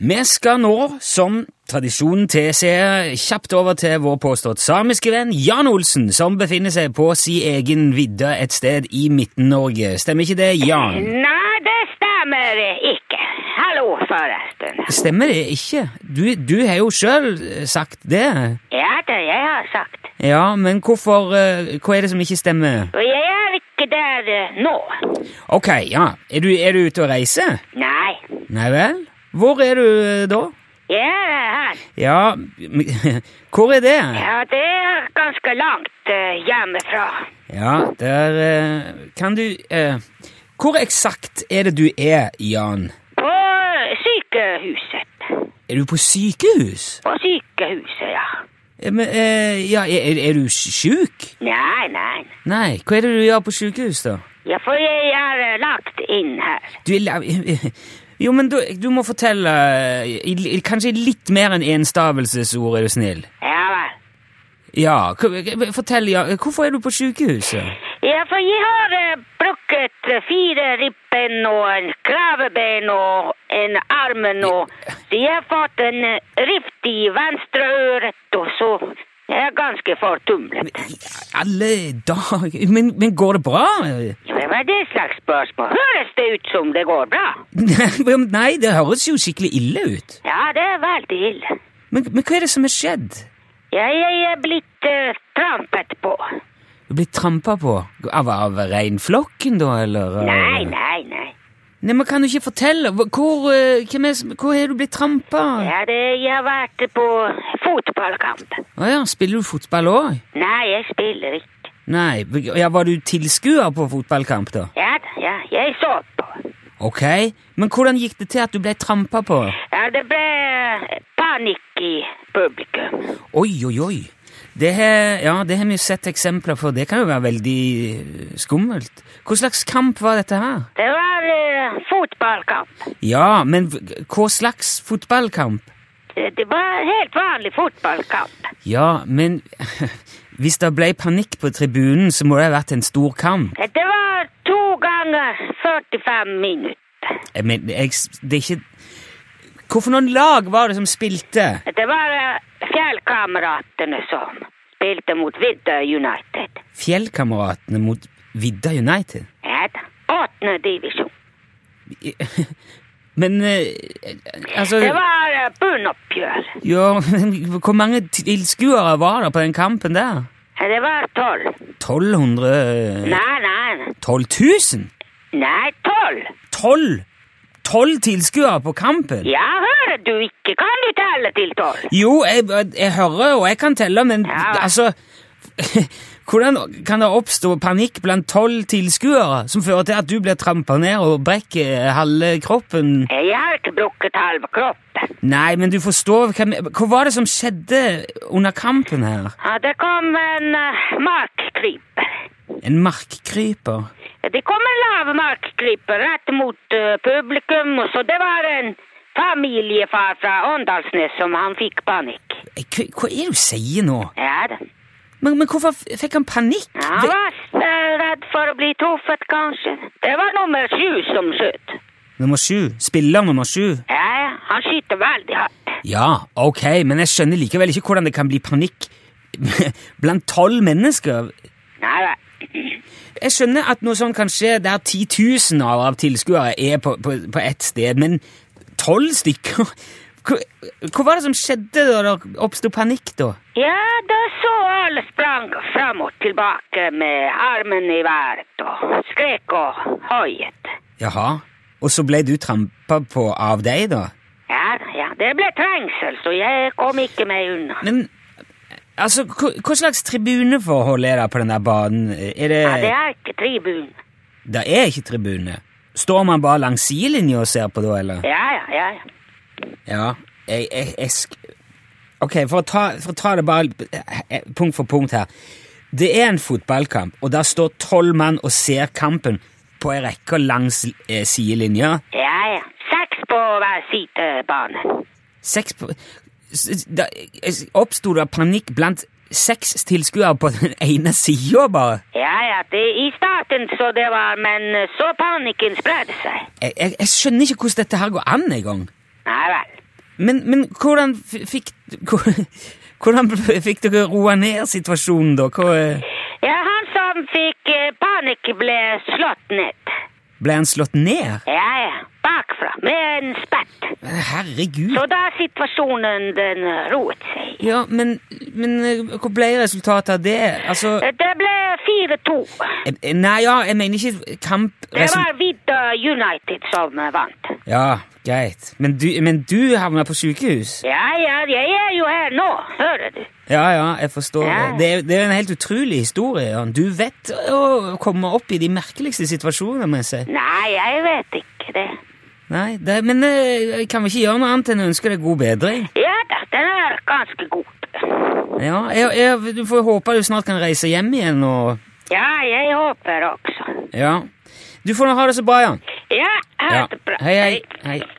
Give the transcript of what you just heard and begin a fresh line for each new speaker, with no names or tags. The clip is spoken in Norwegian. Vi skal nå, som tradisjonen tilsier, kjapt over til vår påstått samiske venn Jan Olsen, som befinner seg på si egen vidde et sted i Midten-Norge. Stemmer ikke det, Jan?
Nei, det stemmer ikke. Hallo, forresten.
Stemmer det ikke? Du, du har jo sjøl sagt det.
Ja, det jeg har sagt.
Ja, men hvorfor eh, Hva er det som ikke stemmer?
Og jeg er ikke der eh, nå.
Ok, ja. Er du, er du ute og reiser?
Nei,
Nei vel? Hvor er du eh, da?
jeg er her.
Ja men- Hvor er det?
Ja, det er ganske langt eh, hjemmefra.
Ja, der eh, kan du eh, Hvor eksakt er det du er, Jan?
På sykehuset.
Er du på sykehus?
På sykehuset, ja.
Eh, men, eh, ja, er, er du sjuk?
Nei, nei.
Nei, hva er det du gjør på sykehus, da?
Ja, for jeg er eh, lagt inn her.
Du er la- Jo, men du, du må fortelle eh, i, i, kanskje litt mer enn enstavelsesord, er du snill.
Ja vel.
Ja, hva- fortell, ja. Hvorfor er du på sykehuset?
Ja, for jeg har eh, brukket eh, fire ribben og en kraveben og en armen og Så jeg har fått en eh, rift i venstre øret og så Jeg er ganske fortumlet.
I alle dager men, men går det bra?
Ja, Hva er det slags spørsmål? Høres det ut som det går bra?
Nei, det høres jo skikkelig ille ut.
Ja, det er veldig ille.
Men, men hva er det som er skjedd?
Ja, jeg er blitt eh, trampet på.
Du blir trampa på? Av, av reinflokken, da, eller? av-
Nei, nei, nei.
Nei, men Kan du ikke fortelle? Hvor, hvor, eh, hvem er, som- hvor har du blitt trampa?
Ja, det, jeg har vært på fotballkamp.
Å ja, spiller du fotball òg?
Nei, jeg spiller ikke.
Nei, ja, Var du tilskuer på fotballkamp, da?
Ja, da, ja, jeg så på.
Ok, Men hvordan gikk det til at du ble trampa på?
Ja, det ble panikk i publikum.
Oi, oi, oi. Det har, ja, det har vi jo sett eksempler på. Det kan jo være veldig eh, skummelt. Hva slags kamp var dette her?
Det var eh, fotballkamp.
Ja, men v- hva slags fotballkamp?
Det det var helt vanlig fotballkamp.
Ja, men hvis det ble panikk på tribunen, så må det ha vært en stor kamp.
Det var to ganger 45 minutter.
Jeg men- jeg, det er ikke Hvorfor noen lag var det som spilte?
Det var eh, fjellkameratene som spilte mot Vidda United.
Fjellkameratene mot Vidda United?
Ja da. Åttende divisjon.
Men eh, Altså
Det var eh, bunnoppgjør.
jo, men Hvor mange tilskuere var det på den kampen der?
Det var tolv.
1200
Nei, nei, nei.
12 000?
nei, tolv.
12 12 tilskuere på kampen?
Ja, hører du ikke? Kan du telle til tolv?
Jo, jeg, jeg hører og jeg kan telle, men
Ja.
altså Hvordan kan det oppstå panikk blant tolv tilskuere som fører til at du blir trampa ned og brekker halve kroppen?
Jeg har ikke brukket halve kroppen.
Nei, men du forstår hva, jeg- hva var det som skjedde under kampen her?
Ja, det kom en eh, markkryper.
En markkryper?
Det kom en lav markkryper rett mot eh, publikum, og så det var en familiefar fra Åndalsnes som han fikk panikk.
Hva, hva er det du sier nå?
Ja, da.
Men, men hvorfor f- fikk han panikk?
han
Det-
var eh, redd for å bli truffet, kanskje. Det var nummer sju som skjøt.
Nummer sju. Spiller nummer sju.
Ja, ja, han skyter veldig hardt.
Ja, ok, men jeg skjønner likevel ikke hvordan det kan bli panikk blant tolv mennesker.
Nei, nei.
Jeg skjønner at noe sånt kan skje der titusener av tilskuere er på, på, på ett sted, men tolv stykker hva, hva var det som skjedde da det oppsto panikk, da?
Ja, da så alle sprang fram og tilbake med armen i været og skrek og hoiet.
Jaha. Og så ble du trampa på av deg, da?
Ja, ja, det ble trengsel, så jeg kom ikke meg unna.
Men altså, hva, hva slags tribuneforhold er det på den der banen? Er det
Ja, det er ikke tribun.
Det er ikke tribune. Står man bare langs sidelinja og ser på, da, eller?
Ja, ja, ja. ja.
Ja, jeg, jeg, jeg sk- Ok, for å, ta, for å ta det bare eh, punkt for punkt her. Det er en fotballkamp, og der står tolv mann og ser kampen på ei rekke langs eh, sidelinja.
ja, ja. Seks på hver sidebane.
Seks på- s- da- eh, Oppsto det panikk blant seks tilskuere på den ene sida, bare?
Ja, ja, det, i starten så det var, men så panikken spredde seg.
Jeg, jeg, jeg skjønner ikke hvordan dette her går an engang.
Nei vel.
Men, men hvordan f- fikk hvor- Hvordan fikk dere roa ned situasjonen, da? Hva, eh,
Ja, han som fikk eh, panikk ble slått ned.
ble han slått ned?
Ja, ja, bakfra, med en spett.
Herregud.
Så da situasjonen den eh, roet seg.
Ja, men, men eh, hva ble resultatet av det? Altså
Eh, Det ble 4-2.
eh, Nei, ja, jeg mener ikke
Det
kampresultat...
var Vida United som eh, vant.
Ja, greit. Men du, men du havna på sykehus?
Ja, ja, jeg er jo her nå, hører du.
Ja, ja, jeg forstår
Ja.
det. Det er, det er en helt utrolig historie. Jørn. Du vet å komme opp i de merkeligste situasjonene, må jeg si.
Nei, jeg vet ikke det.
Nei, det, men eh, kan vi ikke gjøre noe annet enn å ønske deg god bedring?
Ja da, den er ganske god.
Ja, jeg, jeg, du får håpe du snart kan reise hjem igjen og
Ja, jeg håper også.
Ja. Du får nå ha det så bra, Jan.
Ja, ha
Ja.
det bra.
Hei, hei. hei.